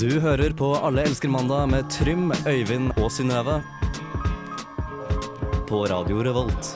Du hører på Alle elsker mandag med Trym, Øyvind og Synnøve. På Radio Revolt.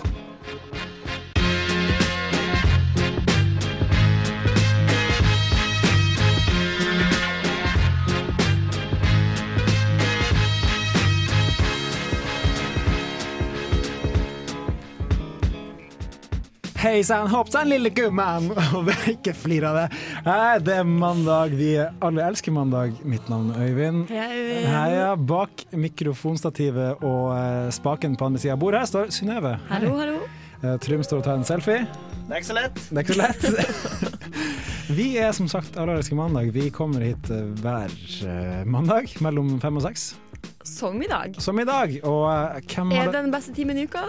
Hei sann, hoppsann, lille gumman! Og Ikke flir av det. Hei, det er mandag. Vi alle elsker mandag. Mitt navn er Øyvind. Heia. Bak mikrofonstativet og eh, spaken på andre sida av bordet her står Synnøve. Hallo, hallo. Eh, Trym står og tar en selfie. Det er ikke så lett. Det er ikke så lett. Vi er som sagt Alle elsker mandag. Vi kommer hit eh, hver eh, mandag mellom fem og seks, Som i dag. som i dag. Og eh, hvem Er har Ah, det den beste timen i uka?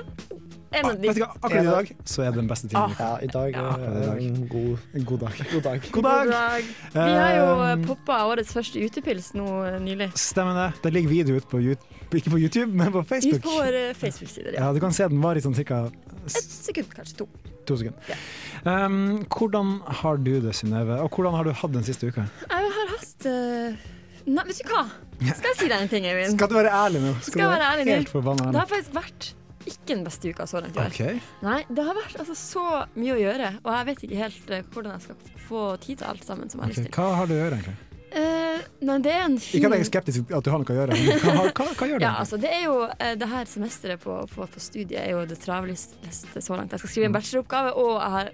En Ah, av de. Vet du hva, akkurat i dag så er det den beste timen. Ja, i dag Ja. er det en god, God dag. god dag. God God eh, dag! dag. Vi har jo Eh, poppa årets første utepils nå eh, nylig. Stemmer det. Det ligger video ute på YouTube, ikke på YouTube, men på Ut Facebook. på vår eh, Facebook-side. Ja. Ja, Du kan se den var i sånn ca. Et sekund, kanskje to. to sekunder. Um, hvordan har du det, Synnøve? Og hvordan har du hatt den siste uka? Jeg har hatt eh, Nei, vet du hva? Skal jeg si deg en ting, Eivind? Skal du være ærlig nå? Skal jeg være ærlig nå? Helt forbanna Det ærlig. har faktisk vært ikke den beste uka så langt i år. OK. Nei, det har vært altså, så mye å gjøre, og jeg vet ikke helt eh, hvordan jeg skal få tid til alt sammen som jeg har ok. lyst til. Hva har du å gjøre, egentlig? Eh, nei, det er en fin Ikke at jeg er skeptisk til at du har noe å gjøre, men hva, har- hva, hva gjør du? Ja, egentlig? altså det er jo eh, det her semesteret på, på, på studiet er jo det travleste så langt. Jeg skal skrive en bacheloroppgave, og jeg har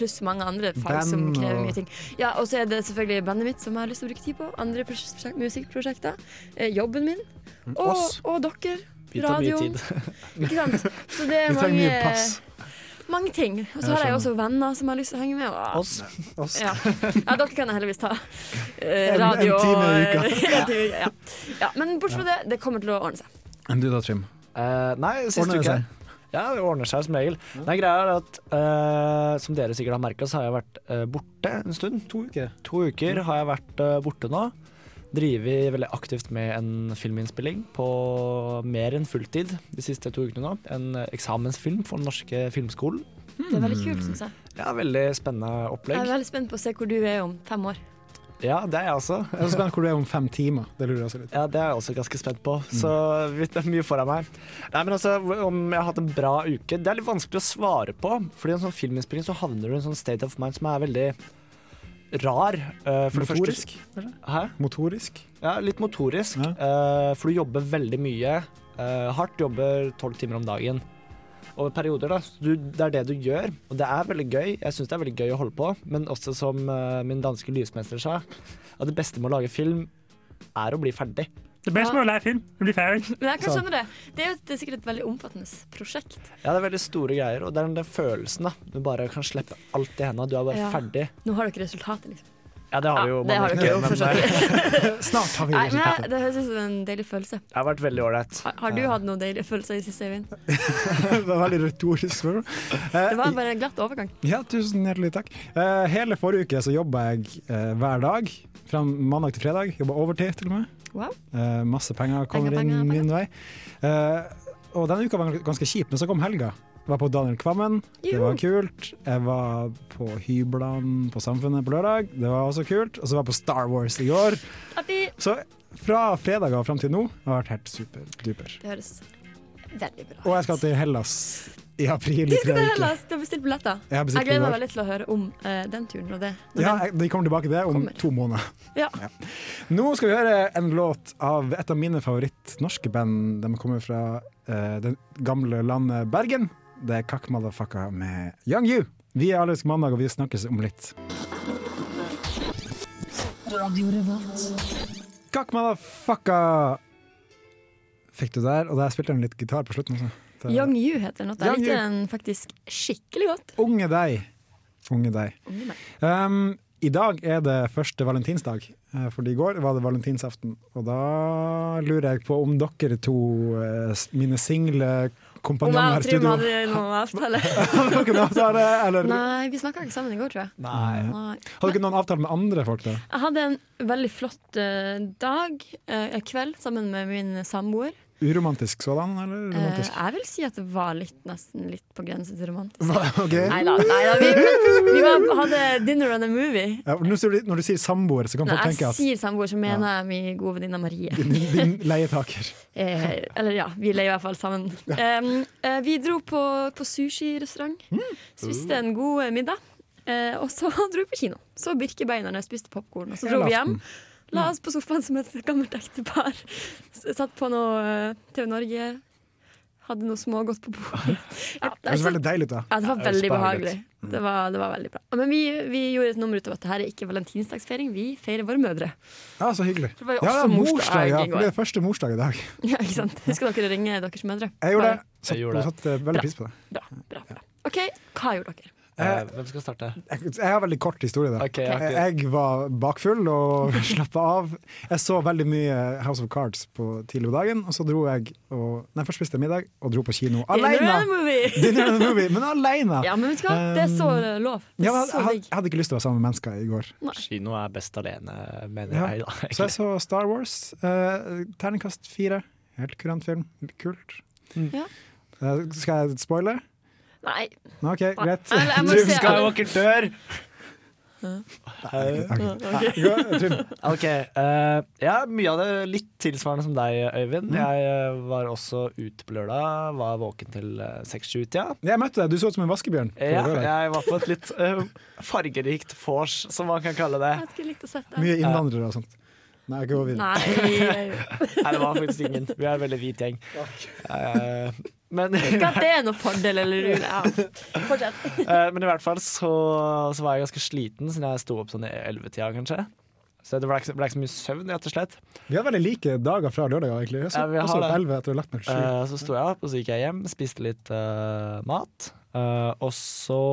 pluss mange andre fag Mm. Band som krever og- mye ting. Ja, og så er det selvfølgelig bandet mitt som jeg har lyst til å bruke tid på. Andre pros- prosjek- musikkprosjekter. Eh, jobben min. Og, Mm, oss. og dere. Vi tar mye Radioen. tid. Ikke sant. Så det er Vi trenger mye mange, pass. mange ting. Og Jeg så har jeg skjønner. også venner som jeg har lyst til å henge med. Og, Oss. Oss. ja. ja, dere kan jeg heldigvis ta. Eh, En- en radio time i og- uka. en time i uka, ja. ja. Men bortsett fra det, det kommer til å ordne seg. Enn du da, Trym? Eh, nei, sist Ordner det uke. seg? Ja, det ordner seg som regel. Nei, greia er at eh, som dere sikkert har merka, så har jeg vært eh, borte en stund. To uker. To uker har jeg vært eh, borte nå. Driver veldig aktivt med en filminnspilling på mer enn fulltid de siste to ukene nå. En eh, eksamensfilm for den norske filmskolen. Det er veldig kult, syns jeg. Mm. Ja, veldig spennende Jeg er opplegg. veldig spent på å se hvor du er om fem år. Ja, det er jeg også. Jeg er så spent hvor du er om fem timer. Det lurer jeg også litt Ja, det er jeg også ganske spent på, Mm. så vi- det er mye foran meg. Nei, men altså, Om jeg har hatt en bra uke Det er litt vanskelig å svare på. Fordi i en sånn filminnspilling så havner du i en sånn state of mind som er veldig rar. eh, for Motorisk? Det første, hæ? Motorisk? Ja, litt motorisk. Ja. eh, for du jobber veldig mye. eh, hardt jobber tolv timer om dagen. Over perioder, da. Så du, det er det du gjør, og det er veldig gøy. Jeg syns det er veldig gøy å holde på, men også som eh, min danske lysmester sa, at det beste med å lage film er å bli ferdig. Det beste med å lære film, det blir ferdig. Men jeg kan Sant. skjønne det. Det er jo et- det er sikkert et veldig omfattende prosjekt. Ja, det er veldig store greier, og det er den der følelsen da. Du bare kan slippe alt i hendene, du er bare Ja. ferdig. Nå har dere resultatet, liksom. Ja, det har vi jo. det har mange dere jo, ganger, for så eh, men vidt. Snart har vi Nei, men jeg- resultatet. Det høres ut som en deilig følelse. Det har vært veldig ålreit. Har, har du hatt noen deilige følelser i siste, Eivind? Det var veldig retorisk spørsmål. Eh, Det var bare en glatt overgang. Ja, tusen hjertelig takk. Eh, hele forrige uke så jobba jeg eh, hver dag, fra mandag til fredag. Jobba overtid, til og med. Wow. Eh, masse penger kommer Penger, inn penger, min vei. Eh, og denne uka var ganske kjip, men så kom helga. Jeg var på Daniel Kvammen, det Jo. var kult. Jeg var på hyblene på Samfunnet på lørdag, det var også kult. Og så var jeg på Star Wars i går. Artig. Så fra fredag og fram til nå har jeg vært helt superduper. Det høres veldig bra ut. Og jeg skal til Hellas i april i Du skal tre uker. til Hellas, du har bestilt billetter. Jeg har Jeg bestilt gleder meg billett. veldig til å høre om eh, den turen og det. Når Ja, den- jeg- de kommer tilbake til det om Kommer. to måneder. ja. Nå skal vi høre en låt av et av mine favoritt-norske band. De kommer fra eh, det gamle landet Bergen. Det er Kakk Motherfucka med Young You. Vi er Allersk mandag, og vi snakkes om litt. Kakk Motherfucka fikk du der, og der spilte han litt gitar på slutten. Også. Det- Young You heter den. låta. Jeg Young likte You. den faktisk skikkelig godt. Unge deg. Unge deg. Unge meg. Um, I dag er det første valentinsdag, eh, fordi i går var det valentinsaften. Og da lurer jeg på om dere to, eh, s- mine single Om jeg kompanjonger i og Trym studio, hadde noen avtale. har dere noen avtale? Eller Nei, vi snakka ikke sammen i går, tror jeg. Nei. Nei. har dere noen avtale med andre folk, da? Jeg hadde en veldig flott eh, dag, eh, en kveld, sammen med min samboer. Uromantisk sådan, eller Mm, Eh, romantisk? jeg vil si at det var litt, nesten litt på grensen til romantisk. Ok. Nei da. vi, men vi var, hadde dinner and a movie. Ja, for nå sier du- når du sier samboer, så kan Når folk tenke jeg at sier samboer, så mener jeg min gode venninne Marie. din, din leietaker. Eh, eller ja, vi leier i hvert fall sammen. Em, eh, vi dro på, på sushirestaurant, spiste en god eh, middag, eh, og så dro vi på kino. Så Birkebeinerne spiste popkorn, og så dro Hele vi hjem. La oss på sofaen som et gammelt ektepar. S- Satt på noe eh, TV Norge. Hadde noe smågodt på bordet. Ja, Det høres veldig deilig ut, da. Ja, det var Det er jo veldig spennende. behagelig. Det var, det var veldig bra. Men vi, vi gjorde et nummer ut av at det her er ikke valentinsdagsfeiring, vi feirer våre mødre. Ja, så hyggelig. Det var jo Ja, ja, også morsdag, morsdag ja, i for går. det er første morsdag i dag. Ja, ikke sant? Husker dere å ringe deres mødre? Jeg gjorde det. Jeg gjorde Satt, det. satt eh, veldig pris på det. Bra, bra, bra. OK, hva gjorde dere? Eh, Hvem skal starte? Jeg, jeg har veldig kort historie der. Ok, jeg har ikke- Jeg var bakfull og slappa av. Jeg så veldig mye House of Cards på tidlig på dagen, og så dro jeg og Nei, først spiste jeg middag og dro på kino Dinner and a alene! movie! Dinner and a movie, men alene! Ja, men vet du hva? Det er så lov. Det Ja, men er jeg, så had- digg. jeg hadde ikke lyst til å være sammen med mennesker i går. Kino er best alene, mener Ja. jeg. da Så egentlig. jeg så Star Wars. eh, terningkast fire. Helt kurant film. Kult. Ja. Eh, skal jeg spoile? Nei. Nå, OK, greit. Eller jeg må Luke se Skywalker dør! Eh, Ok. Ja, Trym. OK. eh, ja, mye av det litt tilsvarende som deg, Øyvind. Jeg eh, var også ute på lørdag, var våken til eh, seks-sju-tida. Jeg møtte deg, du så ut som en vaskebjørn. Ja, jeg var på et litt eh, fargerikt vors, som man kan kalle det. Jeg skulle likt å sett det. Mye innvandrere og sånt. Nei, jeg går videre. Nei Nei, det var faktisk ingen. Vi er en veldig hvit gjeng. Eh, men Ikke at det er noen fordel eller ule. Ja. Fortsett. Eh, Men i hvert fall så, så var jeg ganske sliten siden jeg sto opp sånn i 11-tida, kanskje. Så det ble ikke, ble ikke så mye søvn, rett og slett. Vi har veldig like dager fra lørdager, egentlig. Jeg så, Ja, vi har også det. på 11 etter å ha lagt meg til sju. Eh, Så sto jeg opp, og så gikk jeg hjem, spiste litt eh, mat. Eh, og så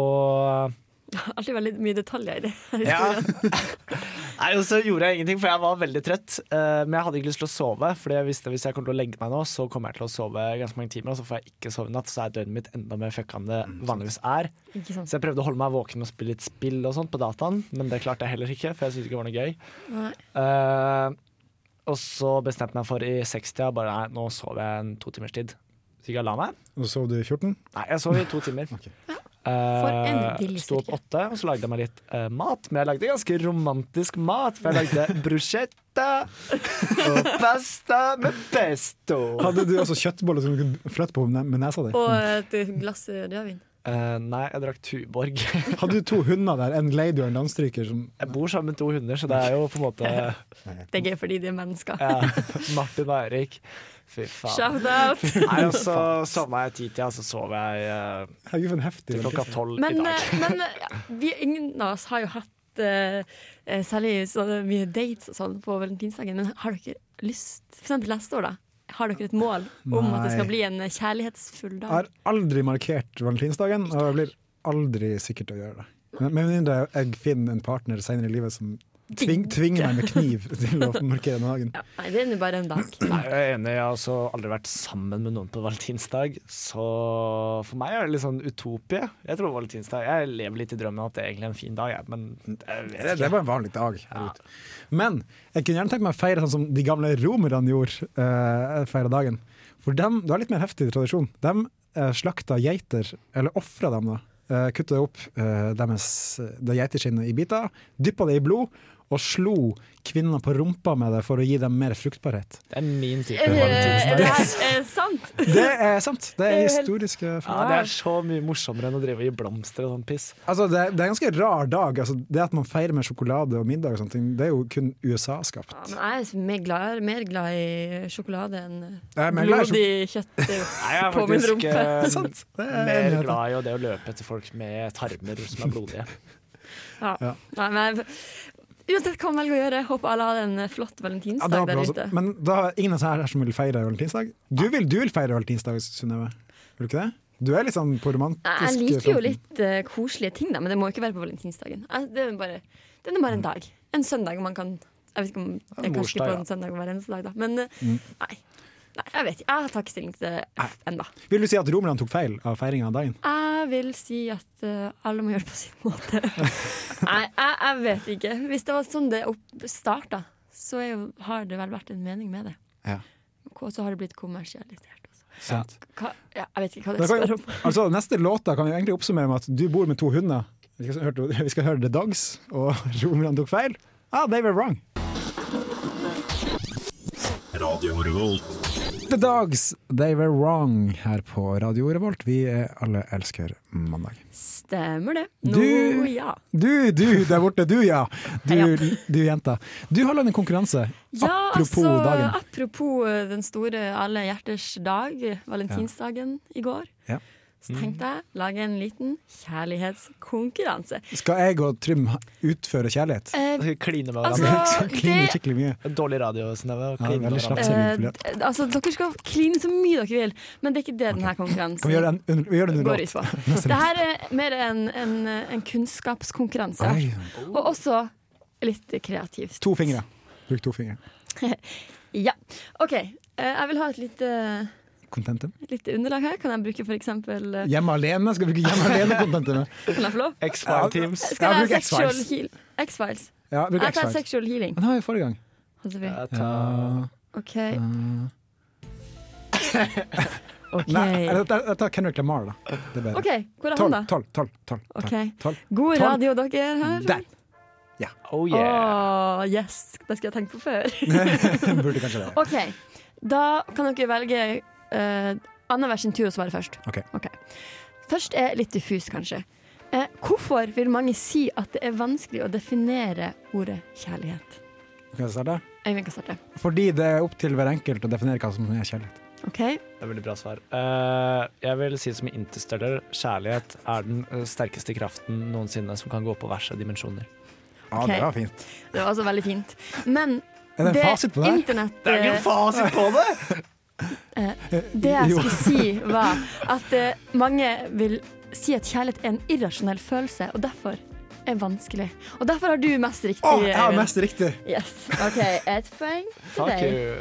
Alltid veldig mye detaljer i det. Ja. Nei, og så gjorde jeg ingenting, for jeg var veldig trøtt. Eh, men jeg hadde ikke lyst til å sove, Fordi jeg visste at hvis jeg kommer til å legge meg nå, så kommer jeg til å sove ganske mange timer, og så får jeg ikke sove i natt, så er døgnet mitt enda mer fucka enn det vanligvis er. Ikke sant? Så jeg prøvde å holde meg våken og spille litt spill og sånt på dataen, men det klarte jeg heller ikke, for jeg syntes ikke det var noe gøy. Nei. Eh, og så bestemte jeg meg for i 60-tida bare nei, nå sover jeg en to timers tid. Så gikk jeg og la meg. Og så sov du i 14. Nei, jeg sov i to timer. Ok. Eh, For en billig Sto opp styrke. åtte, og så lagde jeg meg litt eh, mat. Men jeg lagde ganske romantisk mat, for jeg lagde bruschetta og pasta med pesto. Hadde du også kjøttboller som du kunne flytte på med nesa di? Og et glass rødvin. Eh, nei, jeg drakk Tuborg. Hadde du to hunder der, en lady og en landstryker? Som, Jeg bor sammen med to hunder, så det er jo på en måte Det er gøy fordi de er mennesker. ja, Martin og Eirik. Fy faen. Shout out! Nei, og så sovna jeg ti-tida, og så sov jeg eh, herregud, for en heftig til klokka tolv i Men, dag. eh, men eh, ja, vi, ingen av oss har jo hatt eh, eh, særlig så mye dates og sånn på valentinsdagen. Men har dere lyst For eksempel neste år, da. Har dere et mål om at det Nei. skal bli en kjærlighetsfull Jeg har dag? aldri markert valentinsdagen, og jeg blir aldri sikkert til å gjøre det. Men med mindre jeg finner en partner senere i livet som tving, tvinger meg med kniv til å markere den dagen. Ja, nei, det er nå bare en dag. Nei, jeg er enig. Jeg har også aldri vært sammen med noen på valentinsdag. Så for meg er det litt sånn utopie. Jeg tror valentinsdag Jeg lever litt i drømmen at det er egentlig er en fin dag, jeg, men jeg Det, vet det ikke. var en vanlig dag. herregud. Men jeg kunne gjerne tenkt meg å feire sånn som de gamle romerne gjorde. Uh, feire dagen For dem, det var litt mer heftig tradisjon. De eh, slakta geiter, eller ofra dem, da. Uh, kutta opp eh, deres, det geiteskinnet i biter, dyppa det i blod, og slo kvinner på rumpa med det for å gi dem mer fruktbarhet. Det er min type Er det, er Eh, det valentinsdag. her er sant? Det er sant! Det er Det er jo helt- historiske Ja, det er så mye morsommere enn å drive og gi blomster og sånn piss. Altså, det, er- det er en ganske rar dag. Altså, det at man feirer med sjokolade og middag, og sånne ting, det er jo kun USA-skapt. Ja, men jeg er mer glad, mer glad i sjokolade enn Eh, Jeg er mer glad i sjok- blodig kjøtt Nei, jeg er på min faktisk rumpe. eh, Sant. Det er mer nyheten. glad i å- det å løpe etter folk med tarmer som er blodige. Ja. Nei, men jeg, uansett hva man velger å gjøre, håper alle har en eh, flott Ja, det valentinsdag håper jeg der også. ute. Ah. Men da er ingen av oss her som vil feire valentinsdag. Du vil, du vil feire valentinsdag, Synnøve. Vil du ikke det? Du er litt sånn på romantisk Nei, Jeg liker jo fronten. litt eh, koselige ting, da, men det må ikke være på valentinsdagen. Jeg- Det er bare, det er bare en dag. En søndag man kan Jeg vet ikke om det er kanskje morsdag, ikke på ja. en søndag hver eneste dag, da. Men eh, nei. nei. Jeg vet ikke. Jeg tar ikke stilling til det ennå. Vil du si at romerne tok feil av feiringa av dagen? Jeg vil si at eh, alle må gjøre det på sin måte. nei, jeg, jeg vet ikke. Hvis det var sånn det opp- starta, så er jo, har det vel vært en mening med det. Ja. og så har det blitt kommersialisert. Også. Sant. Hva, ja, jeg vet ikke hva Da kan- det spør om. Altså, neste låta kan vi egentlig oppsummere med at du bor med to hunder. Vi skal høre, vi skal høre The Dogs, og romerne tok feil. Ah, they were wrong. The Dogs, they were wrong her på Radio Revolt. Vi er alle elsker mandag. Stemmer det. Nå, Du- ja. Du, du der borte, du ja. Du, Ja. du jenta. Du har lagd en konkurranse. Ja, Apropos altså, dagen. Apropos eh, den store alle hjerters dag, eh, valentinsdagen i går. Ja. Så tenkte jeg lage en liten kjærlighetskonkurranse. Skal jeg og Trym utføre kjærlighet? Eh, Kline med hverandre. altså, Kliner det, skikkelig mye. Dårlig radio, Synnøve. å Ja, kline med veldig hverandre. slapp eh, selvtillit. d- altså, dere skal kline så mye dere vil, men det er ikke det denne konkurransen Kan vi gjøre, den, vi gjør det under går ut låt? på. Det her er mer en, en, en kunnskapskonkurranse, Oi, og også litt kreativt. sånn. To fingre. Bruk to fingre. Ja. OK, eh, jeg vil ha et lite, Contentum. et lite underlag her. Kan jeg bruke for eksempel eh, Hjemme alene? Skal vi bruke hjemme alene-contentumet? Kan jeg få lov? X-File Teams. Skal jeg bruk ha sexual X-Files. heal- X-Files? Ja, bruk Jeg tar X-Files. sexual healing. Den har vi forrige gang. Hadde vi. Jeg Ja. eh, tar- OK. Mm. Nei, OK, jeg tar- jeg tar Kendrick Lamar, da. Det er bedre. Ok, hvor er han, Tolv, da? tolv, tolv, tolv, tolv, Ok. tolv. God Tolv. radio, dere her. Der! Oh Åh, yeah. yes! Det skulle jeg tenkt på før. Burde kanskje det. OK, da kan dere velge uh, annenhver sin tur å svare først. Ok. Først er litt diffus, kanskje. Eh, hvorfor vil mange si at det er vanskelig å definere ordet kjærlighet? Kan jeg starte? Øyvind kan starte. Fordi det er opp til hver enkelt å definere hva som er kjærlighet. OK? Det er veldig bra svar. Eh, jeg vil si som i Interstellar, kjærlighet er den eh, sterkeste kraften noensinne som kan gå på verset dimensjoner. Ja, Ok. det var fint. Det var altså veldig fint. Men Er det en fasit på det her? internett Eh, fasit på det! Det jeg Jo. skulle si, var at eh, mange vil si at kjærlighet er en irrasjonell følelse, og derfor er vanskelig. Og derfor har du mest riktig. Å, jeg har Eivind. mest riktig! Yes. OK, ett poeng til Fuck deg. you.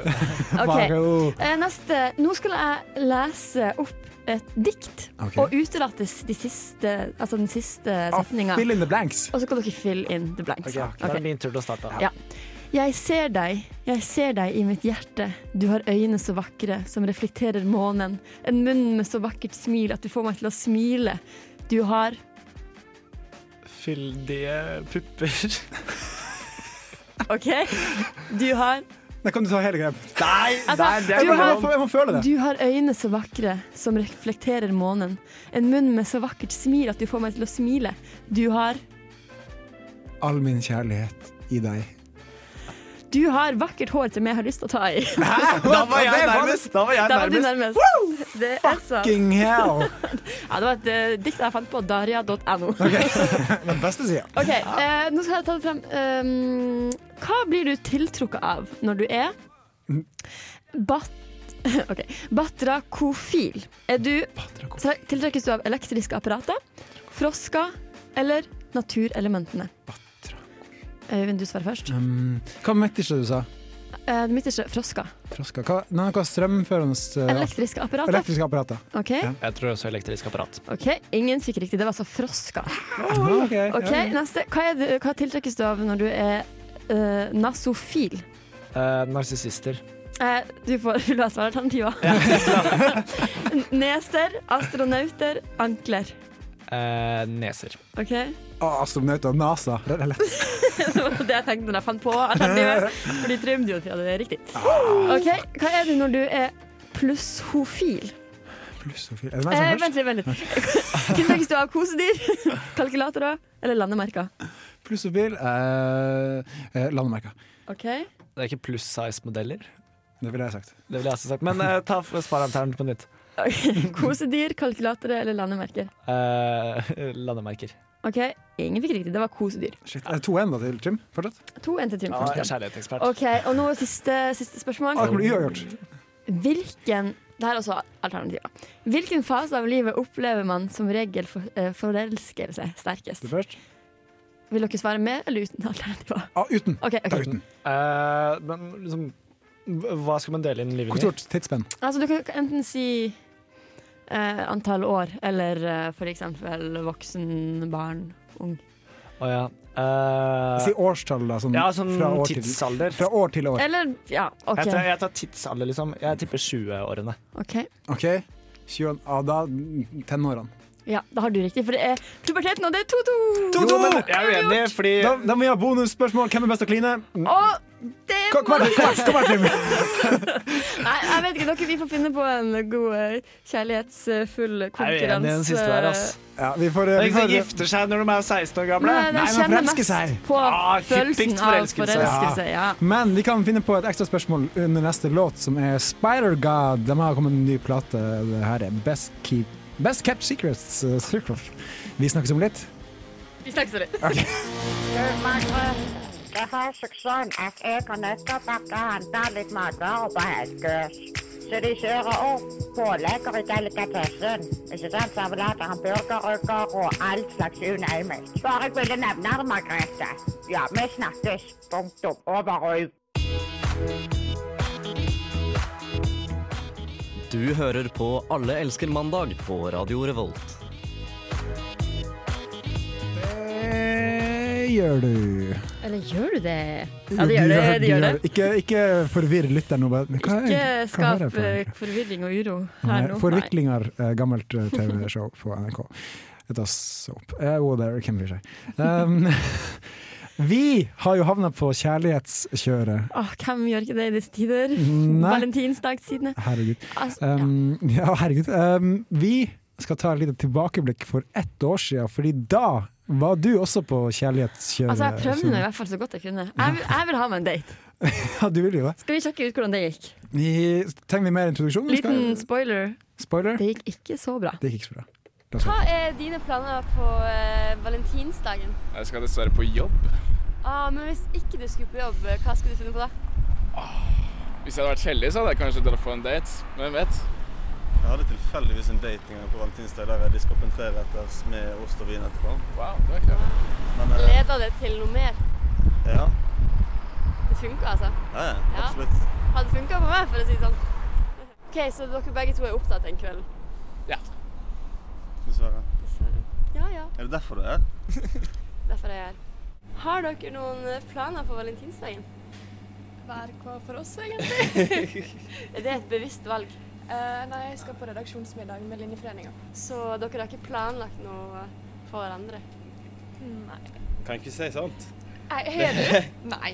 Ok, Faro. eh, Neste. Nå skal jeg lese opp et dikt Ok. og utelate de siste, altså den siste Ah, setninga. Fill in the blanks. Og så kan dere fill in the blanks. Ok, Da er det min tur til å starte. Ja. Jeg ser deg, jeg ser deg i mitt hjerte. Du har øyne så vakre som reflekterer månen. En munn med så vakkert smil at du får meg til å smile. Du har Fyldige pupper. OK? Du har altså, Da kan du ta hele greia. Nei, nei, det du er Jeg har- lov. må- jeg må føle det. Du har øyne så vakre som reflekterer månen. En munn med så vakkert smil at du får meg til å smile. Du har All min kjærlighet i deg. Du har vakkert hår som jeg har lyst til å ta i. Da var Det jeg var nærmest. Da var jeg Der var du nærmest. nærmest. Det er sant. Fucking hell! Ja, det var et eh, dikt jeg fant på daria.no. Den beste sida. Ok, eh, nå skal jeg ta det frem Ehm, Hva blir du tiltrukket av når du er Bat Ok, batrakofil Er du tra- Tiltrekkes du av elektriske apparater Frosker Eller naturelementene Øyvind, du svarer først Um, hva midterste du sa? Eh, Det midterste, frosker Frosker? Hva, nei, hva strømførende uh, Elektriske apparater Elektriske apparater. Ok, Jeg tror også elektrisk apparat. ok Ingen fikk riktig, det var altså frosker Ah, ok, ja. Ok, neste Hva, er det, hva tiltrekkes du av når du er eh, nasofil Eh, Narsissister. Eh, du får vil du ha svaralternativer. Neser, astronauter, ankler. Eh, neser. OK? Ah, astronauter. NASA. Det er lett. Det var det jeg tenkte da jeg fant på alternativet. Fordi Trym du hadde det riktig. OK, hva er du når du er plusshofil? Pluss og fire. Er det meg som Eh, er vent litt, vent litt. Tiltrekkes du av kosedyr, kalkulatorer eller landemerker? først? Pluss og fil. eh, eh, landemerker. OK? Det er ikke pluss-size-modeller. Det ville jeg sagt. Det ville jeg også sagt. Men eh, ta svaranternet på nytt. Kosedyr, kalkulatorer eller landemerker? Eh, landemerker. OK, ingen fikk riktig. Det var kosedyr. Shit. Er det to ender til Trym? Fortsatt? To en til Trym. Ja, jeg er fortsatt. kjærlighetsekspert. OK, og nå siste, siste spørsmål. Ah, det blir uavgjort. Hvilken det her er også alternativer. Hvilken fase av livet opplever man som regel for, eh, forelskelse sterkest? Du først. Vil dere svare med eller uten alternativer? Ah, uten. Ok, ok. Ta uten. Eh, men liksom Hva skal man dele inn livet Hvor i? stort tidsspenn? Altså, du kan enten si eh, antall år eller eh, for eksempel voksen, barn, ung. Å ja. Eh, Si årstall, da. Sånn, ja, sånn fra, år til, tidsalder. fra år til år. Eller Ja, OK. Jeg, tar, jeg tar tidsalder, liksom. Jeg tipper 20-årene. ok. OK? 20, ah, da tenårene. Ja, da har du riktig, for det er puberteten, og det er 2-2! Jo, men jeg er uenig, fordi Da, da må vi ha bonusspørsmål. Hvem er best til å kline? Og det Kom, kom, her, kom, her, kom her, Trym. Nei, jeg vet ikke, dere, vi får finne på en god eh, kjærlighetsfull Jeg er uenig i den konkurranse. siste der, ass. Ja, vi får, eh, Det vi er ingen som får gifter seg når de er 16 år gamle. Nei, de men kjenner forelsker mest seg. på Ah, følelsen hyppigst av forelskelse. forelskelse. Ja. Men vi kan finne på et ekstra spørsmål under neste låt, som er Spider God. De har kommet med en ny plate. Det her er Best, Keep, Best Kept Secrets. eh, Circle. Vi snakkes om litt. Vi snakkes om det. Det har seg sånn at jeg har nettopp vært og handla litt matvarer på Helgøs. Så de kjører opp pålegger i delikatessen. Ikke sant? Servelater, hamburgerrygger og all slags you name it. Bare jeg ville nevne det, Margrethe. Ja, vi snakkes. Punktum. Over og ut. Du hører på Alle elsker mandag på Radio Revolt. Det gjør du. Eller gjør du det? Ja, det gjør Du det. det, gjør det. Ikke, ikke forvirr lytteren nå. bare, men hva er- Ikke hva hører skap jeg på? eh, forvirring og uro Nei, her nå. Nei. Forviklinger, eh, gammelt eh, TV-show på NRK. Et av soap. Eh, oh, there, hvem bryr seg. Um, vi har jo havna på kjærlighetskjøret. Åh, Ah, hvem gjør ikke det i disse tider? Nei. Valentinsdagstidene. Herregud. Altså, ja. Um, ja. herregud. Um, vi skal ta et lite tilbakeblikk for ett år siden, fordi da var du også på kjærlighetskjøret. altså, jeg prøvde nå i Sune. hvert fall så godt jeg kunne. Jeg, vil- jeg vil ha meg en date. Ja, du ville jo det. Skal vi sjekke ut hvordan det gikk? Vi- Trenger vi mer introduksjon? Vi skal- Liten spoiler. Spoiler? Det gikk ikke så bra. Det gikk ikke så bra. La oss Hva er dine planer på eh, valentinsdagen? Jeg skal dessverre på jobb. Ah, men hvis ikke du skulle på jobb, eh, hva skulle du finne på da? Hvis jeg hadde vært heldig, så hadde jeg kanskje dratt på en date. Hvem vet? Jeg hadde tilfeldigvis en date en gang på valentinsdag der jeg diska opp en treretters med ost og vin etterpå. Wow, det var ikke det. Men eh, Leda det til noe mer? ja, Det funka, altså. ja, Ja. ja, absolutt. Hadde funka på meg, for å si det sånn. OK, så dere begge to er opptatt den kvelden? Dessverre. Dessverre. Ja ja, Er det derfor du er her? derfor er jeg her. Har dere noen eh, planer på valentinsdagen? Hver hva for oss, egentlig. Er det et bevisst valg? Eh, nei, jeg skal på redaksjonsmiddag med Linjeforeninga. Så dere har ikke planlagt noe eh, for hverandre? Nei. Kan ikke si sant. Har du? Nei.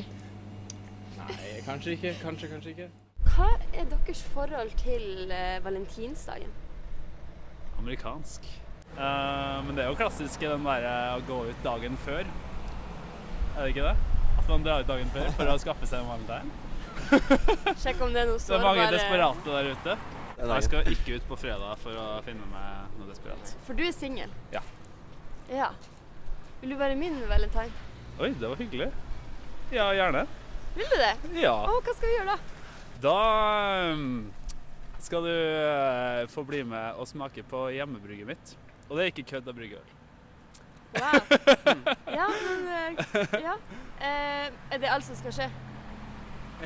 Nei, kanskje ikke. Kanskje, kanskje ikke. Hva er deres forhold til eh, valentinsdagen? Amerikansk. Eh, men det er jo klassisk i den derre å gå ut dagen før. Er det ikke det? At man drar ut dagen før for å skaffe seg en valentine. Sjekk om det er noe Det er mange sårbare desperate der ute. Jeg skal ikke ut på fredag for å finne meg noe desperat. For du er singel? Ja. Ja. Vil du være min valentine? Oi, det var hyggelig. Ja, gjerne. Vil du det? Ja. Å, hva skal vi gjøre da? Da ehm, skal du eh, få bli med og smake på hjemmebrygget mitt. Og det er ikke kødd av bryggeøl. Wow. Ja, men eh, Ja. Eh, er det alt som skal skje?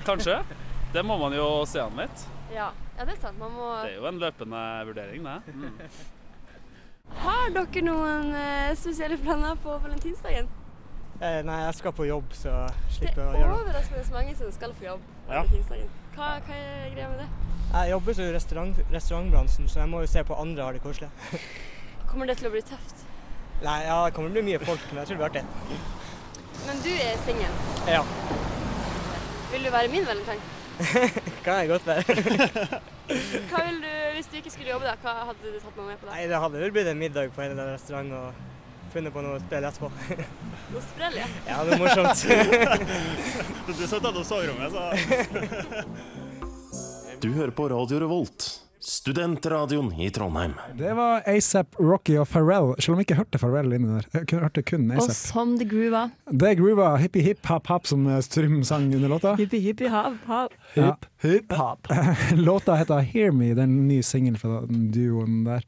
Kanskje? Det må man jo se an litt. Ja. ja, det er sant. Man må Det er jo en løpende vurdering, det. Har dere noen eh, spesielle planer på valentinsdagen? Eh, nei, jeg skal på jobb, så Det er overraskende mange som skal på jobb på Ja. valentinsdagen. Hva, hva er greia med det? Jeg jobber i restaurantbransjen, så jeg må jo se på andre har det koselig. Kommer det til å bli tøft? Nei, ja, det kommer til å bli mye folk, men jeg tror det blir artig. Men du er singel. Ja, Vil du være min valentine? kan jeg godt være. Hva vil du, Hvis du ikke skulle jobbe, da, hva hadde du tatt meg med på da? Nei, det hadde vel blitt en middag på en eller annen restaurant og funnet på noe å spille etterpå. Noe sprell, ja. Ja, det er morsomt. Du satt der og så om meg, så Du hører på Radio Revolt, studentradioen i Trondheim. Det var ASAP Rocky og Pharrell, selv om jeg ikke hørte Pharrell inni der. Jeg kun- hørte kun Og ASAP. som det groova. Det er groova hippie hip hop hop som eh, Strym sang under låta. Hippie, hippie, hav, hav. Ja. Hip-hop. Låta heter Hear Me, det er en ny singel fra den duoen der.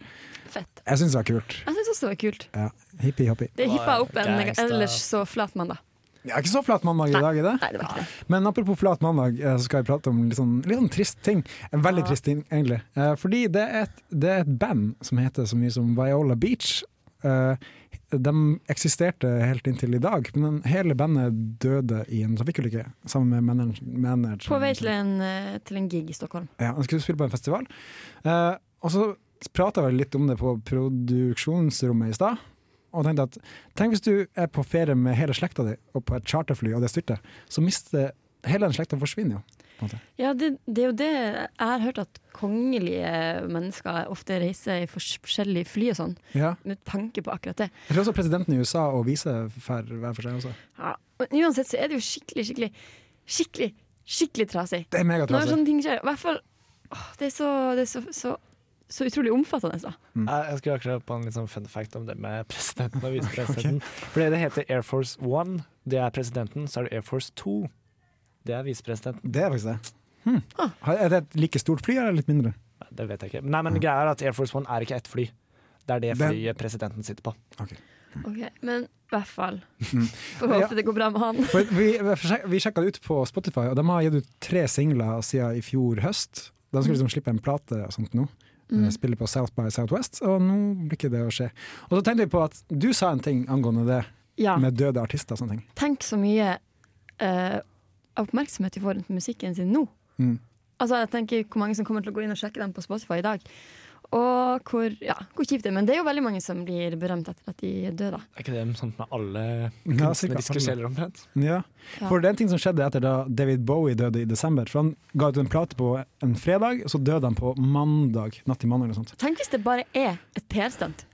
Fett. Jeg syns det var kult. Jeg syns også det var kult. Ja. Hippie hoppie. Det hippa opp en Gangsta. ellers så flat mandag. Ja, ikke så flat mandag i dag, er det? Nei, det var ikke det. Men apropos flat mandag, eh, så skal vi prate om litt sånn, litt sånn trist ting. En veldig trist ting, egentlig. Eh, Fordi det er, et, det er et band som heter så mye som Viola Beach. eh, de eksisterte helt inntil i dag, men hele bandet døde i en trafikkulykke sammen med manage- manageren. På vei til en, eh, til en gig i Stockholm. Ja, han skulle spille på en festival. Eh, og så prata vi litt om det på produksjonsrommet i stad. Og tenkte at tenk hvis du er på ferie med hele slekta di og på et charterfly, og det styrter, så mister hele den slekta forsvinner jo. på en måte. Ja, det, det er jo det jeg har hørt at kongelige mennesker ofte reiser i fors- forskjellige fly og sånn. Ja. Med tanke på akkurat det. Jeg tror også presidenten i USA og viser hver for seg også. Ja, men uansett så er det jo skikkelig, skikkelig, skikkelig, skikkelig trasig. Det er megatrasig. Når sånne ting skjer. I hvert fall åh, Det er så, det er så, så, så utrolig omfattende, da. Mm. Eh, Jeg, jeg skulle akkurat på en litt sånn fun fact om det med presidenten og visepresidenten. Fordi det heter Air Force One, det er presidenten, så er det Air Force Two. Det er sånn- visepresidenten. Det er faktisk det. Hm. Hmm. Er det et like stort fly, eller litt mindre? Det vet jeg ikke. Nei, Mm. men greia er at Air Force One er ikke ett fly. Det er det Den- flyet presidenten sitter på. Ok, Men i hvert fall. Mm. Får håpe det går bra med han. For vi vi sjekka det ut på Spotify, og de har gitt ut tre singler siden i fjor høst. De skulle liksom slippe en plate og sånt nå. Mm. Eh, Spille på South by Southwest, og nå blir ikke det å skje. Og så tenkte vi på at du sa en ting angående det Ja. med døde artister og sånne ting. Tenk så mye eh, oppmerksomhet de får rundt musikken sin nå. Mm. Altså, jeg tenker hvor mange som kommer til å gå inn og sjekke dem på Spotify i dag. Og hvor, ja, hvor kjipt det er. Men det er jo veldig mange som blir berømt etter at de er døde. da. Er ikke det sånn med alle Ja, sikkert kunstneriske alle. sjeler omtrent? Ja. Ja. For det er en ting som skjedde etter da David Bowie døde i desember. For han ga ut en plate på en fredag, og så døde han på mandag. Natt til mandag eller noe sånt. Tenk hvis det bare er et PR-stunt.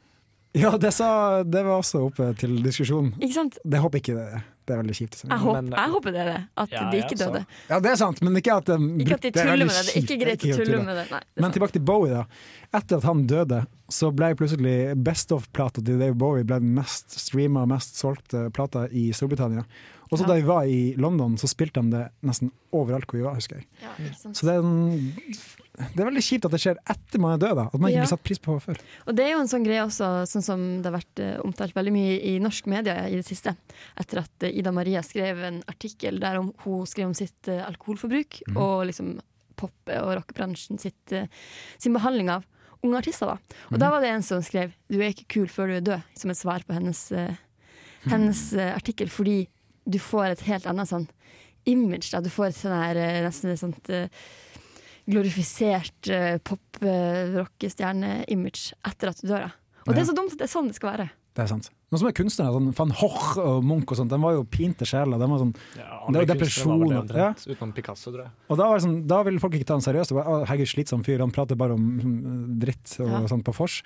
Ja, det, sa, det var også oppe til diskusjon. Ikke sant? Det håper ikke det er. Det er veldig kjipt. Jeg, håp, jeg håper det er det. At eh, Ja, de jeg ikke også. døde. Ja, det er sant, men ikke at de Ikke at de brukte- er tuller veldig med det. Det er kjipt. ikke greit å tulle med det. Nei, det er Men tilbake til Bowie, da. Etter at han døde, så ble plutselig Best of-plata til Dave Bowie ble den mest streama og mest solgte plata i Storbritannia. Og så da vi var i London, så spilte de det nesten overalt hvor vi var, husker jeg. Ja, ikke sant? Så det er, en, det er veldig kjipt at det skjer etter man er død, da. At man ikke Ja. blir satt pris på før. Og det er jo en sånn greie også, sånn som det har vært eh, omtalt veldig mye i norsk media i det siste. Etter at eh, Ida Maria skrev en artikkel der om, hun skrev om sitt eh, alkoholforbruk Mhm. og liksom pop- og rockebransjen sitt, eh, sin behandling av unge artister. da. Og da var det en som skrev 'Du er ikke kul før du er død', som et svar på hennes, eh, hennes eh, artikkel, fordi du får et helt annet sånn image. da. Du får et sånn her eh, nesten et sånt eh, glorifisert eh, pop-rockestjerne-image etter at du dør. da. Og det er så dumt at det er sånn det skal være. Det er sant. Noen som er kunstnere, sånn van Hoch og Munch og sånt, de var jo pinte sjeler. De var sånn, det Alle var kunstnere var vel depresjon. det ja. omtrent, Utenom Picasso, tror jeg. Og da, var det sånn, da ville folk ikke ta han seriøst. Og bare, «Å, Herregud, slitsom fyr, han prater bare om mm, dritt og Ja. sånt på vors.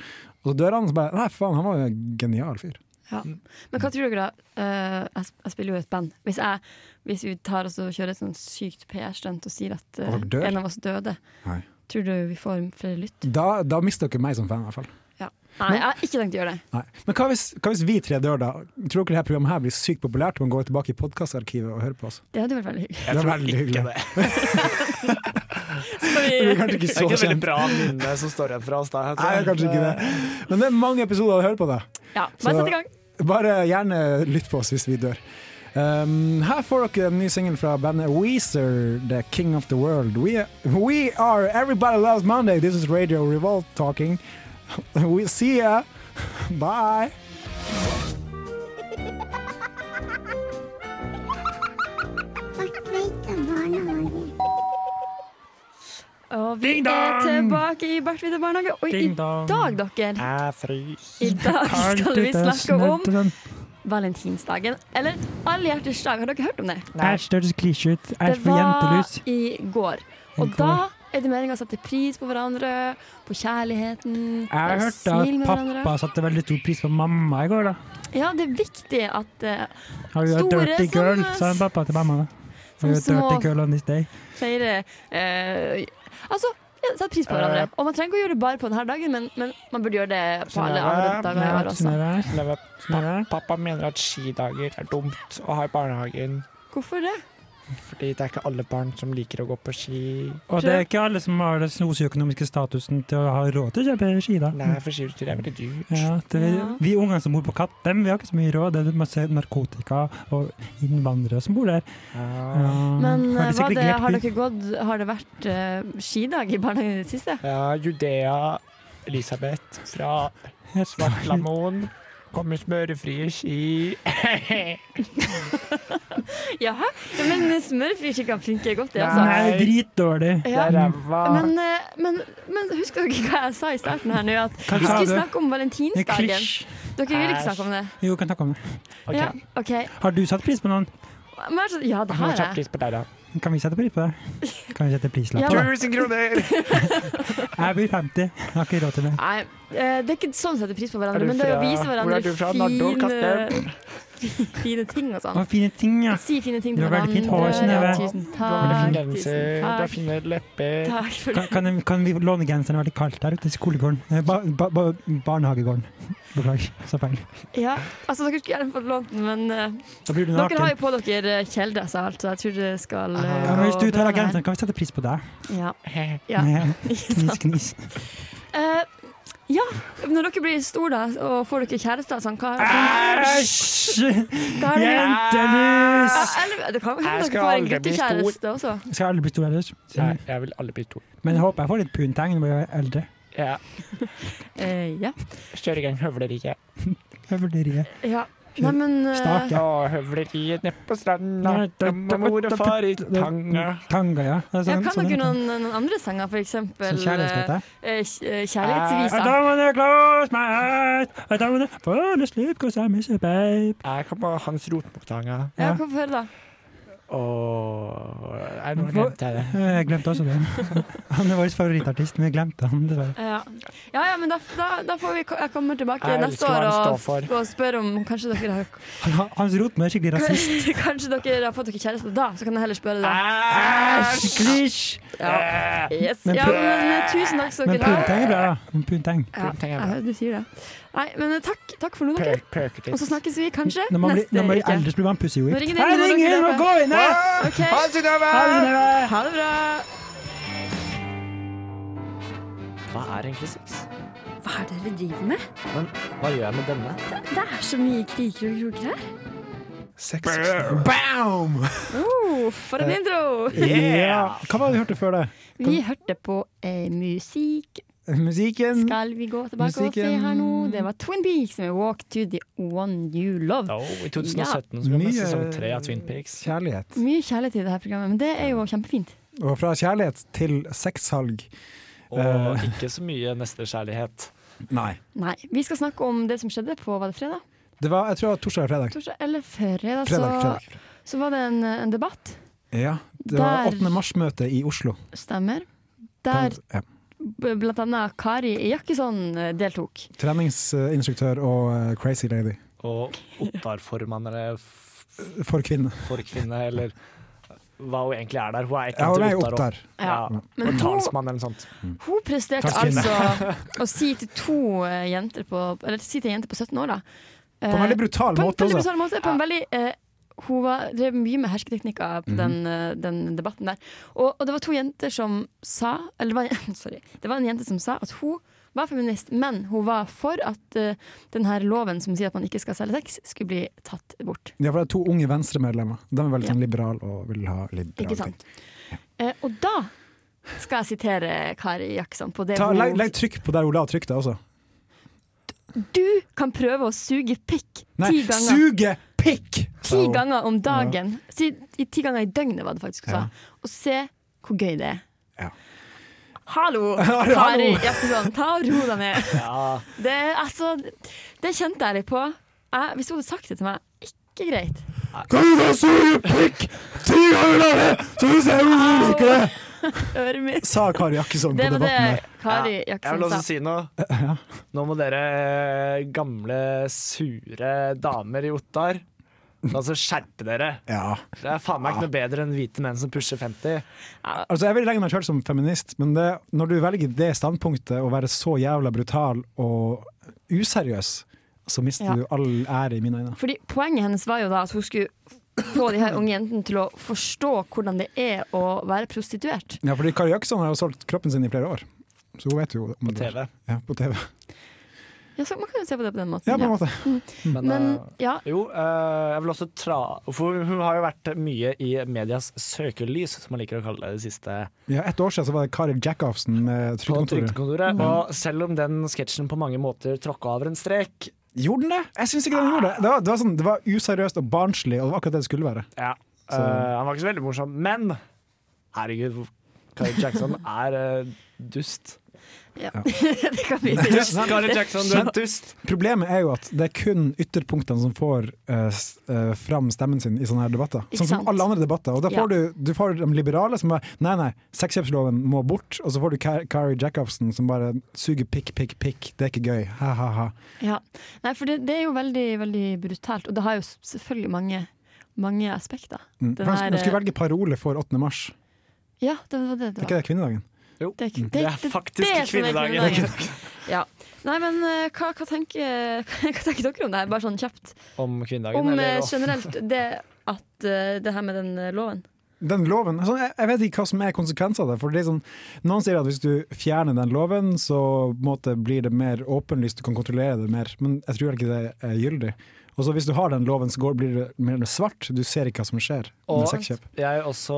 Og så dør han, og så bare Nei, faen, han var jo en genial fyr. Ja. Mm. Men hva tror dere, da? Eh, jeg, sp- jeg spiller jo i et band. Hvis, jeg, hvis vi tar oss og kjører et sånn sykt PR-stunt og sier at eh, Og dør? en av oss døde, Nei. tror du vi får flere lytt? Da, da mister dere meg som fan, i hvert fall. Ja. Nei, jeg har ikke tenkt å gjøre det. Nei. Men hva hvis, hva hvis vi tre dør, da? Tror dere det her programmet her blir sykt populært? Man går tilbake i podkastarkivet og hører på oss? Det hadde vært veldig hyggelig. Det er veldig hyggelig. Skal vi- Det blir kanskje ikke så Det er ikke et veldig kjent. bra minne som står igjen fra oss altså. da. jeg tror. Nei, kanskje ikke det. Men det er mange episoder å høre på, da. Ja, Så bare sett i gang. Bare gjerne lytt på oss hvis vi dør. Um, her får dere en ny singel fra bandet Weezer, 'The King of the World'. We, we are Everybody Loves Monday. This is Radio Revolt talking. We see ya. Bye. Og vi Ding er dong! tilbake i Bartvite barnehage. Og i Ding dong. dag, dere, Jeg fryser. I dag skal vi snakke om valentinsdagen. Eller allhjerters dag. Har dere hørt om det? Æsj, det høres klisjé ut. Det Æsj, for var jentelus. i går. I Og går. da er det meninga å sette pris på hverandre, på kjærligheten, Jeg har være hørt snill at med pappa hverandre. satte veldig stor pris på mamma i går, da. Ja, det er viktig at eh, Har du Store dirty girl, som- sa han pappa til mamma. da. som Har du dirty små- girl on this day? flere eh, Altså, ja, sette pris på Eh. Sånn hverandre. Og man trenger ikke å gjøre det bare på denne dagen, men, men man burde gjøre det på alle andre dager i året også. Synnøve, pa- Pappa mener at skidager er dumt å ha i barnehagen. Hvorfor det? Fordi det er ikke alle barn som liker å gå på ski. Og det er ikke alle som har den sosioøkonomiske statusen til å ha råd til å kjøpe ski, da. Nei, for skitur er veldig dyrt. Ja, det er, Ja. Vi unger som bor på Katt, dem, vi har ikke så mye råd. Det er masse narkotika og innvandrere som bor der. Ja. Men Har eh, hva de sikkert det, grepet har, ut? dere gått, har det vært eh, skidag i barnehagen i det siste? Ja, Judea Elisabeth fra Svartlamoen Kommer smørefrie ski. Mm. Jaha, ja, men eh, smørfri skikke funker godt, det, altså. Nei, dritdårlig. Ja. Men, eh, men, men husk dere hva jeg sa i starten her nå? At Hva vi sa skulle du? snakke om Det er valentinsdagen. klisj. Dere vil ikke snakke om det? Jo, kan snakke om det. Ja, OK. Har du satt pris på noen? Men, altså, ja, det har jeg. på deg, da. Kan vi sette pris på det? Kan vi sette prislapp Ja. på det? Tusen kroner! Jeg blir 50. Jeg har ikke råd til det. Nei, eh, det er ikke sånn å sette pris på Er hverandre, du men det er å fra- vise hvor er hverandre du fra? Nardo, fine, fine ting og sånn. Og fine ting, ja. Si fine ting Du til har veldig fint hår, hverandre. Synnøve. Tusen Du har veldig takk. fin genser, Tusen du har takk. fine lepper. Takk for Kan, kan, kan vi låne genseren? Det er veldig kaldt der ute i skolegården. Eh, Ba, ba, ba, barnehagegården. Beklager, så feil. Ja, altså Dere skulle gjerne fått lånt den, men eh, Da blir du dere har naken. jo på dere eh, kjeledress og alt, så jeg tror det skal eh, Ja, men hvis du gå tar bra med av genseren, kan vi sette pris på deg? den. Ja. Ja. Knis, knis. Eh, ja, når dere blir store da, og får dere kjærester og sånn, hva Æsj! Hva er det? Jentelus! Ja, eller, det kan jo Jeg hende skal dere får en aldri bli stor. guttekjæreste også. Jeg skal aldri bli stor ellers. Nei, jeg vil aldri bli stor. Men jeg håper jeg får litt puntegn når jeg er eldre. Ja. Eh, ja. Kjør i gang høvleriet. Høvleriet. ja. Nei, men eh, Stak, ja. Å, høvleriet nede på stranda. Nei, da- Da da- må mor og far i da- da- tanga. Tanga, ja. Det er ja, sånn- kan sånn dere det Sånn heter. noen, noen andre sanger, for eksempel Som kjærlighetslåter? eh, eh, kj- eh, I don't Kjærlighetsvisa. wanna close my eyes. I don't wanna fall asleep 'cause I miss you, babe. Jeg kan bare Hans Rotmokktanga. Ja, hva får høre da? Og Nei, nå glemte jeg det. Eh, Jeg glemte også det. Han er vår favorittartist, men jeg glemte han, dessverre. Ja, ja, ja men da, da, da får vi ko- jeg kommer tilbake Jeg neste elsker hva år han og, står for. og spørre om kanskje dere har Han- Hans Rotmo er skikkelig rasist. Kanskje dere har fått dere kjæreste da, så kan jeg heller spørre det. Æsj! Klisj! Ja. Yes. Men ja, pu- men eh, tusen takk skal Men dere ha. punteng er bra, da. Men Punteng. Ja, jeg hører du sier det. Nei, men eh, takk, takk for nå, dere. Og Altså, så snakkes vi kanskje Når man blir, neste når man blir uke. eldre, så blir man pussy Nå whipped. ringer Hei, dere, ring dere inn og dere. gå inn! her! Ok. Ha det, Synnøve! Ha det bra! Hva er egentlig sex? Hva er det dere driver med? Men hva gjør jeg med denne? Det, det er så mye kriker og kroker her. Sex. Boom! Oh, for en Eh, intro! Yeah! Hva var det vi hørte før det? Vi hørte på eh, musikk. Musikken. Skal vi gå tilbake og Mm. Musikken. se her nå? Det var Twin Peaks med 'Walk to the One You Love'. I 2017 så kom det sesong tre av Twin Peaks. Kjærlighet. Ja, mye kjærlighet i det her programmet, men det er jo kjempefint. Og fra kjærlighet til sexsalg. Og ikke så mye nestekjærlighet. Nei. Nei, Vi skal snakke om det som skjedde på var det fredag? Det var, jeg tror det var torsdag eller fredag. Torsdag eller fredag? Fredag, så, fredag, så var det en, en debatt. Ja, det var Der- 8. mars-møte i Oslo. Stemmer. Der Ja. b- blant annet Kari Jakkesson eh, deltok. Treningsinstruktør og eh, crazy lady. Og Ottar-formann eller f- For kvinner. forkvinne eller hva hun egentlig er der. Hun er ikke Ja, hun til er jo Ottar. Ottar. også. Ja. Ja. Men Og hun- talsmann eller noe sånt. Mm. Hun presterte Takk, Kine. altså å si til to eh, jenter på Eller si til ei jente på 17 år, da. eh, På en veldig brutal på en måte altså. veldig også. brutal måte, på en veldig, eh, hun var, drev mye med hersketeknikker Mhm. på den, eh, den debatten der. Og, og det var to jenter som sa Eller det var, en- sorry. Det var en jente som sa at hun var feminist, men hun var for at eh, den her loven som sier at man ikke skal selge sex, skulle bli tatt bort. Ja, for det er to unge venstremedlemmer. De er veldig Ja. sånn liberale og vil ha liberale Ikke ting. sant? Eh, og da skal jeg sitere Kari Jakkesson på det Ta, hun legg, legg trykk på der hun la trykk, da altså. også. Du kan prøve å suge pikk Nei, ti ganger. suge pikk! Ti ganger om dagen. Si, i- ti ganger i døgnet, var det faktisk hun Ja. sa. Og se hvor gøy det er. Ja. Hallo, Hallo. Kari Jakkesson. Ta og ro deg ned. Ja. Det, er altså, det kjente jeg litt på. Jeg, hvis hun hadde sagt det til meg ikke greit. Kan du suge pikk ti ganger i døgnet, så du ser hvor du liker det? Øret mitt. Sa Kari Jakkesson på Det var debatten det der. Kari Jeg vil Jakkesson også sa. si noe. Nå må dere eh, gamle, sure damer i Ottar Altså skjerpe dere. Det er faen meg ikke noe bedre enn hvite menn som pusher 50. Altså, jeg vil legge meg selv som feminist, men det, når du velger det standpunktet å være så jævla brutal og useriøs, så mister Ja. du all ære i mine øyne. Fordi Poenget hennes var jo da at hun skulle få de her unge jentene til å forstå hvordan det er å være prostituert. Ja, fordi Kari Jakkesson har jo solgt kroppen sin i flere år, så hun vet jo om På det. TV. Ja, på TV. Ja, så Man kan jo se på det på den måten. Ja, på en måte. Men, Men, eh, ja. jo, eh, jeg vil også tra... For hun har jo vært mye i medias søkelys, som man liker å kalle det de siste Ja, et år siden så var det Kari Jackoffsen med på Trygdekontoret. Mm. Trygdekontoret. Ja. Og selv om den sketsjen på mange måter tråkka over en strek, Gjorde den det? Jeg syns ikke den gjorde det. Det var, det, var sånn, det var useriøst og barnslig, og det var akkurat det det skulle være. Ja. Så- Eh, han var ikke så veldig morsom, men herregud, Kari Jackson er eh, dust. det kan vi si. Dust, Kari Jackson, du er Men en dust! Problemet er jo at det er kun ytterpunktene som får eh, s- eh, fram stemmen sin i sånne her debatter. Ikke Sånn som sant? alle andre debatter. Og da Ja. får du, du får de liberale som bare Nei, nei, sexkjøpsloven må bort. Og så får du Ka- Kari Jacobsen som bare suger pikk, pikk, pikk. Det er ikke gøy. Ha, ha, ha. Ja. Nei, for det, det er jo veldig, veldig brutalt, og det har jo s- selvfølgelig mange, mange aspekter. Mm. Den For her, eh, de skulle velge parole for 8. mars. Ja, det var det det Er ikke var. det kvinnedagen? Jo. Det er, ikke- Det er ikke faktisk det som er kvinnedagen. Ja. Nei, men eh, hva, hva, tenker, hva tenker dere om det her, bare sånn kjapt? Om kvinnedagen. Om eller- eh, generelt det at eh, det her med den eh, loven. Den loven, sånn, jeg, jeg vet ikke hva som er konsekvensen av det. For det er sånn, noen sier at hvis du fjerner den loven, så på en måte, blir det mer åpenlyst, du kan kontrollere det mer. Men jeg tror ikke det er gyldig. Og så hvis du har den loven, så går, blir det mer svart. Du ser ikke hva som skjer med Og sexkjøp. jeg også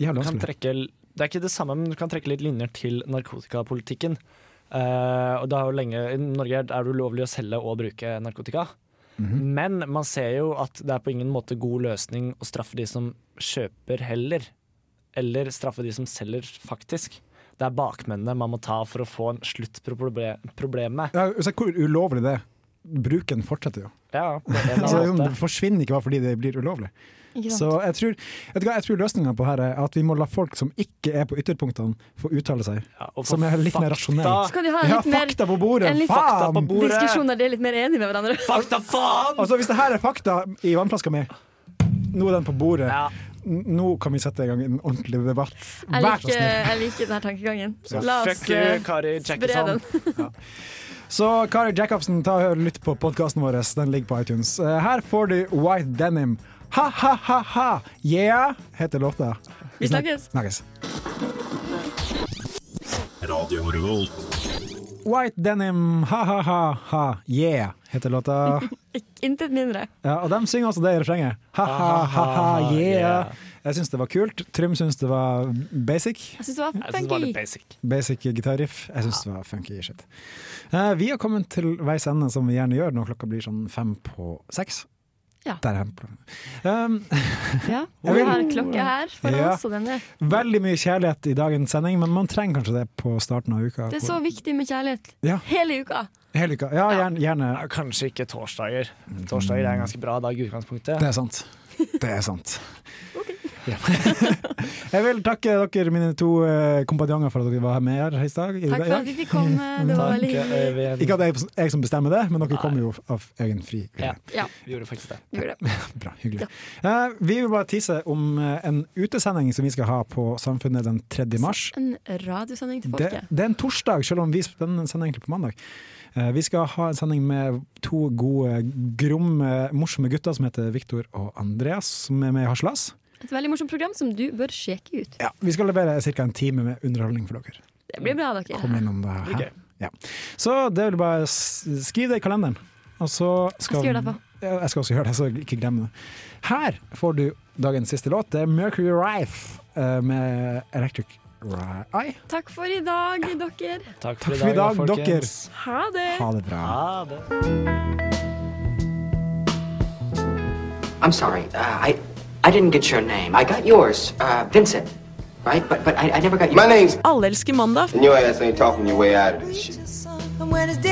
Jævla kan vanskelig. trekke Det er ikke det samme, men du kan trekke litt linjer til narkotikapolitikken. Eh, og det har jo lenge, I Norge er det ulovlig å selge og bruke narkotika. Mhm. Men man ser jo at det er på ingen måte god løsning å straffe de som kjøper heller. Eller straffe de som selger, faktisk. Det er bakmennene man må ta for å få en slutt på proble problemet. Ja, se hvor ulovlig det er. Bruken fortsetter jo. Ja, på en eller Altså, annen liksom, måte. det forsvinner ikke bare fordi det blir ulovlig. Ikke sant. Så jeg tror, vet du hva, jeg tror løsninga på her er at vi må la folk som ikke er på ytterpunktene, få uttale seg. og få som er litt mer fakta. rasjonelle. Skal de ha ja, litt mer- fakta på bordet! en litt- faen! Diskusjon der de er litt mer enige med hverandre. Fakta faen! Altså, hvis det her er fakta i vannflaska mi, nå er den på bordet. N- Nå kan vi sette i gang en ordentlig debatt. Jeg Vær så liker, snill. jeg liker denne tankegangen. Så La oss fuck you, eh, Kari spre den. Jackson. Så Kari Jacobsen, ta og lytt på podkasten vår. Den ligger på iTunes. Eh, Her får du White Denim. Ha-ha-ha-ha! Yeah, heter låta. Vi snakkes. snakkes. Radio Revolt. White Denim, ha-ha-ha-ha, yeah, heter låta. Intet mindre. Ja, og de synger også det i refrenget. Ha-ha-ha-ha, yeah. Jeg syns det var kult. Trym syns det var basic. Jeg syns det var synes det var funky. litt basic. Basic gitarriff. Jeg syns det var funky shit. Eh, vi har kommet til veis ende, som vi gjerne gjør når klokka blir sånn fem på seks. Ja. Der er planen. Um, Ja, Jeg vi vil- har en klokke her for Ja. oss, og den er veldig mye kjærlighet i dagens sending, men man trenger kanskje det på starten av uka. Det er sånn- så viktig med kjærlighet. Ja. Hele uka. Hele uka. Ja, gjerne. gjerne. Ja, Kanskje ikke torsdager. Torsdager er en ganske bra dag i utgangspunktet. Det er sant. Det er sant. Ja. Jeg vil takke dere, mine to eh, kompanjonger, for at dere var her med her i dag. i Takk for dag. at vi fikk komme. Det var veldig hyggelig. Ikke at det er jeg som bestemmer det, men dere kommer jo av egen fri vilje. Ja, vi gjorde faktisk det. gjorde det. Bra, hyggelig. Eh, vi vil bare tise om eh, en utesending som vi skal ha på Samfunnet den 3. mars. En radiosending til Det, folket. det er en torsdag, selv om vi sender sender egentlig på mandag. Eh, vi skal ha en sending med to gode, gromme, morsomme gutter som heter Viktor og Andreas, som er med i Haslas. Et veldig morsomt program som du bør sjekke ut. Ja, vi skal levere ca. en time med underholdning for dere. Det blir bra, dere. Kom innom det her. Ok. Ja. Så det vil jeg bare s- skriv det i kalenderen. Og så skal, skal gjøre det etterpå. Ja, jeg skal også gjøre det, så ikke glem det. Her får du dagens siste låt. Det er Mercury Rife eh, med Electric Ri- Eye. Takk for i dag, dere. Takk for i Takk for i dag, dag, da, folkens. Ha det. Ha det bra. Ha det. I'm sorry. Uh, I I didn't get your name. I got yours, uh, Vincent, right? But but I, I never got your. Oh. My name's- Alle elsker mandag. And your ass ain't talking your way out of this shit. And when it's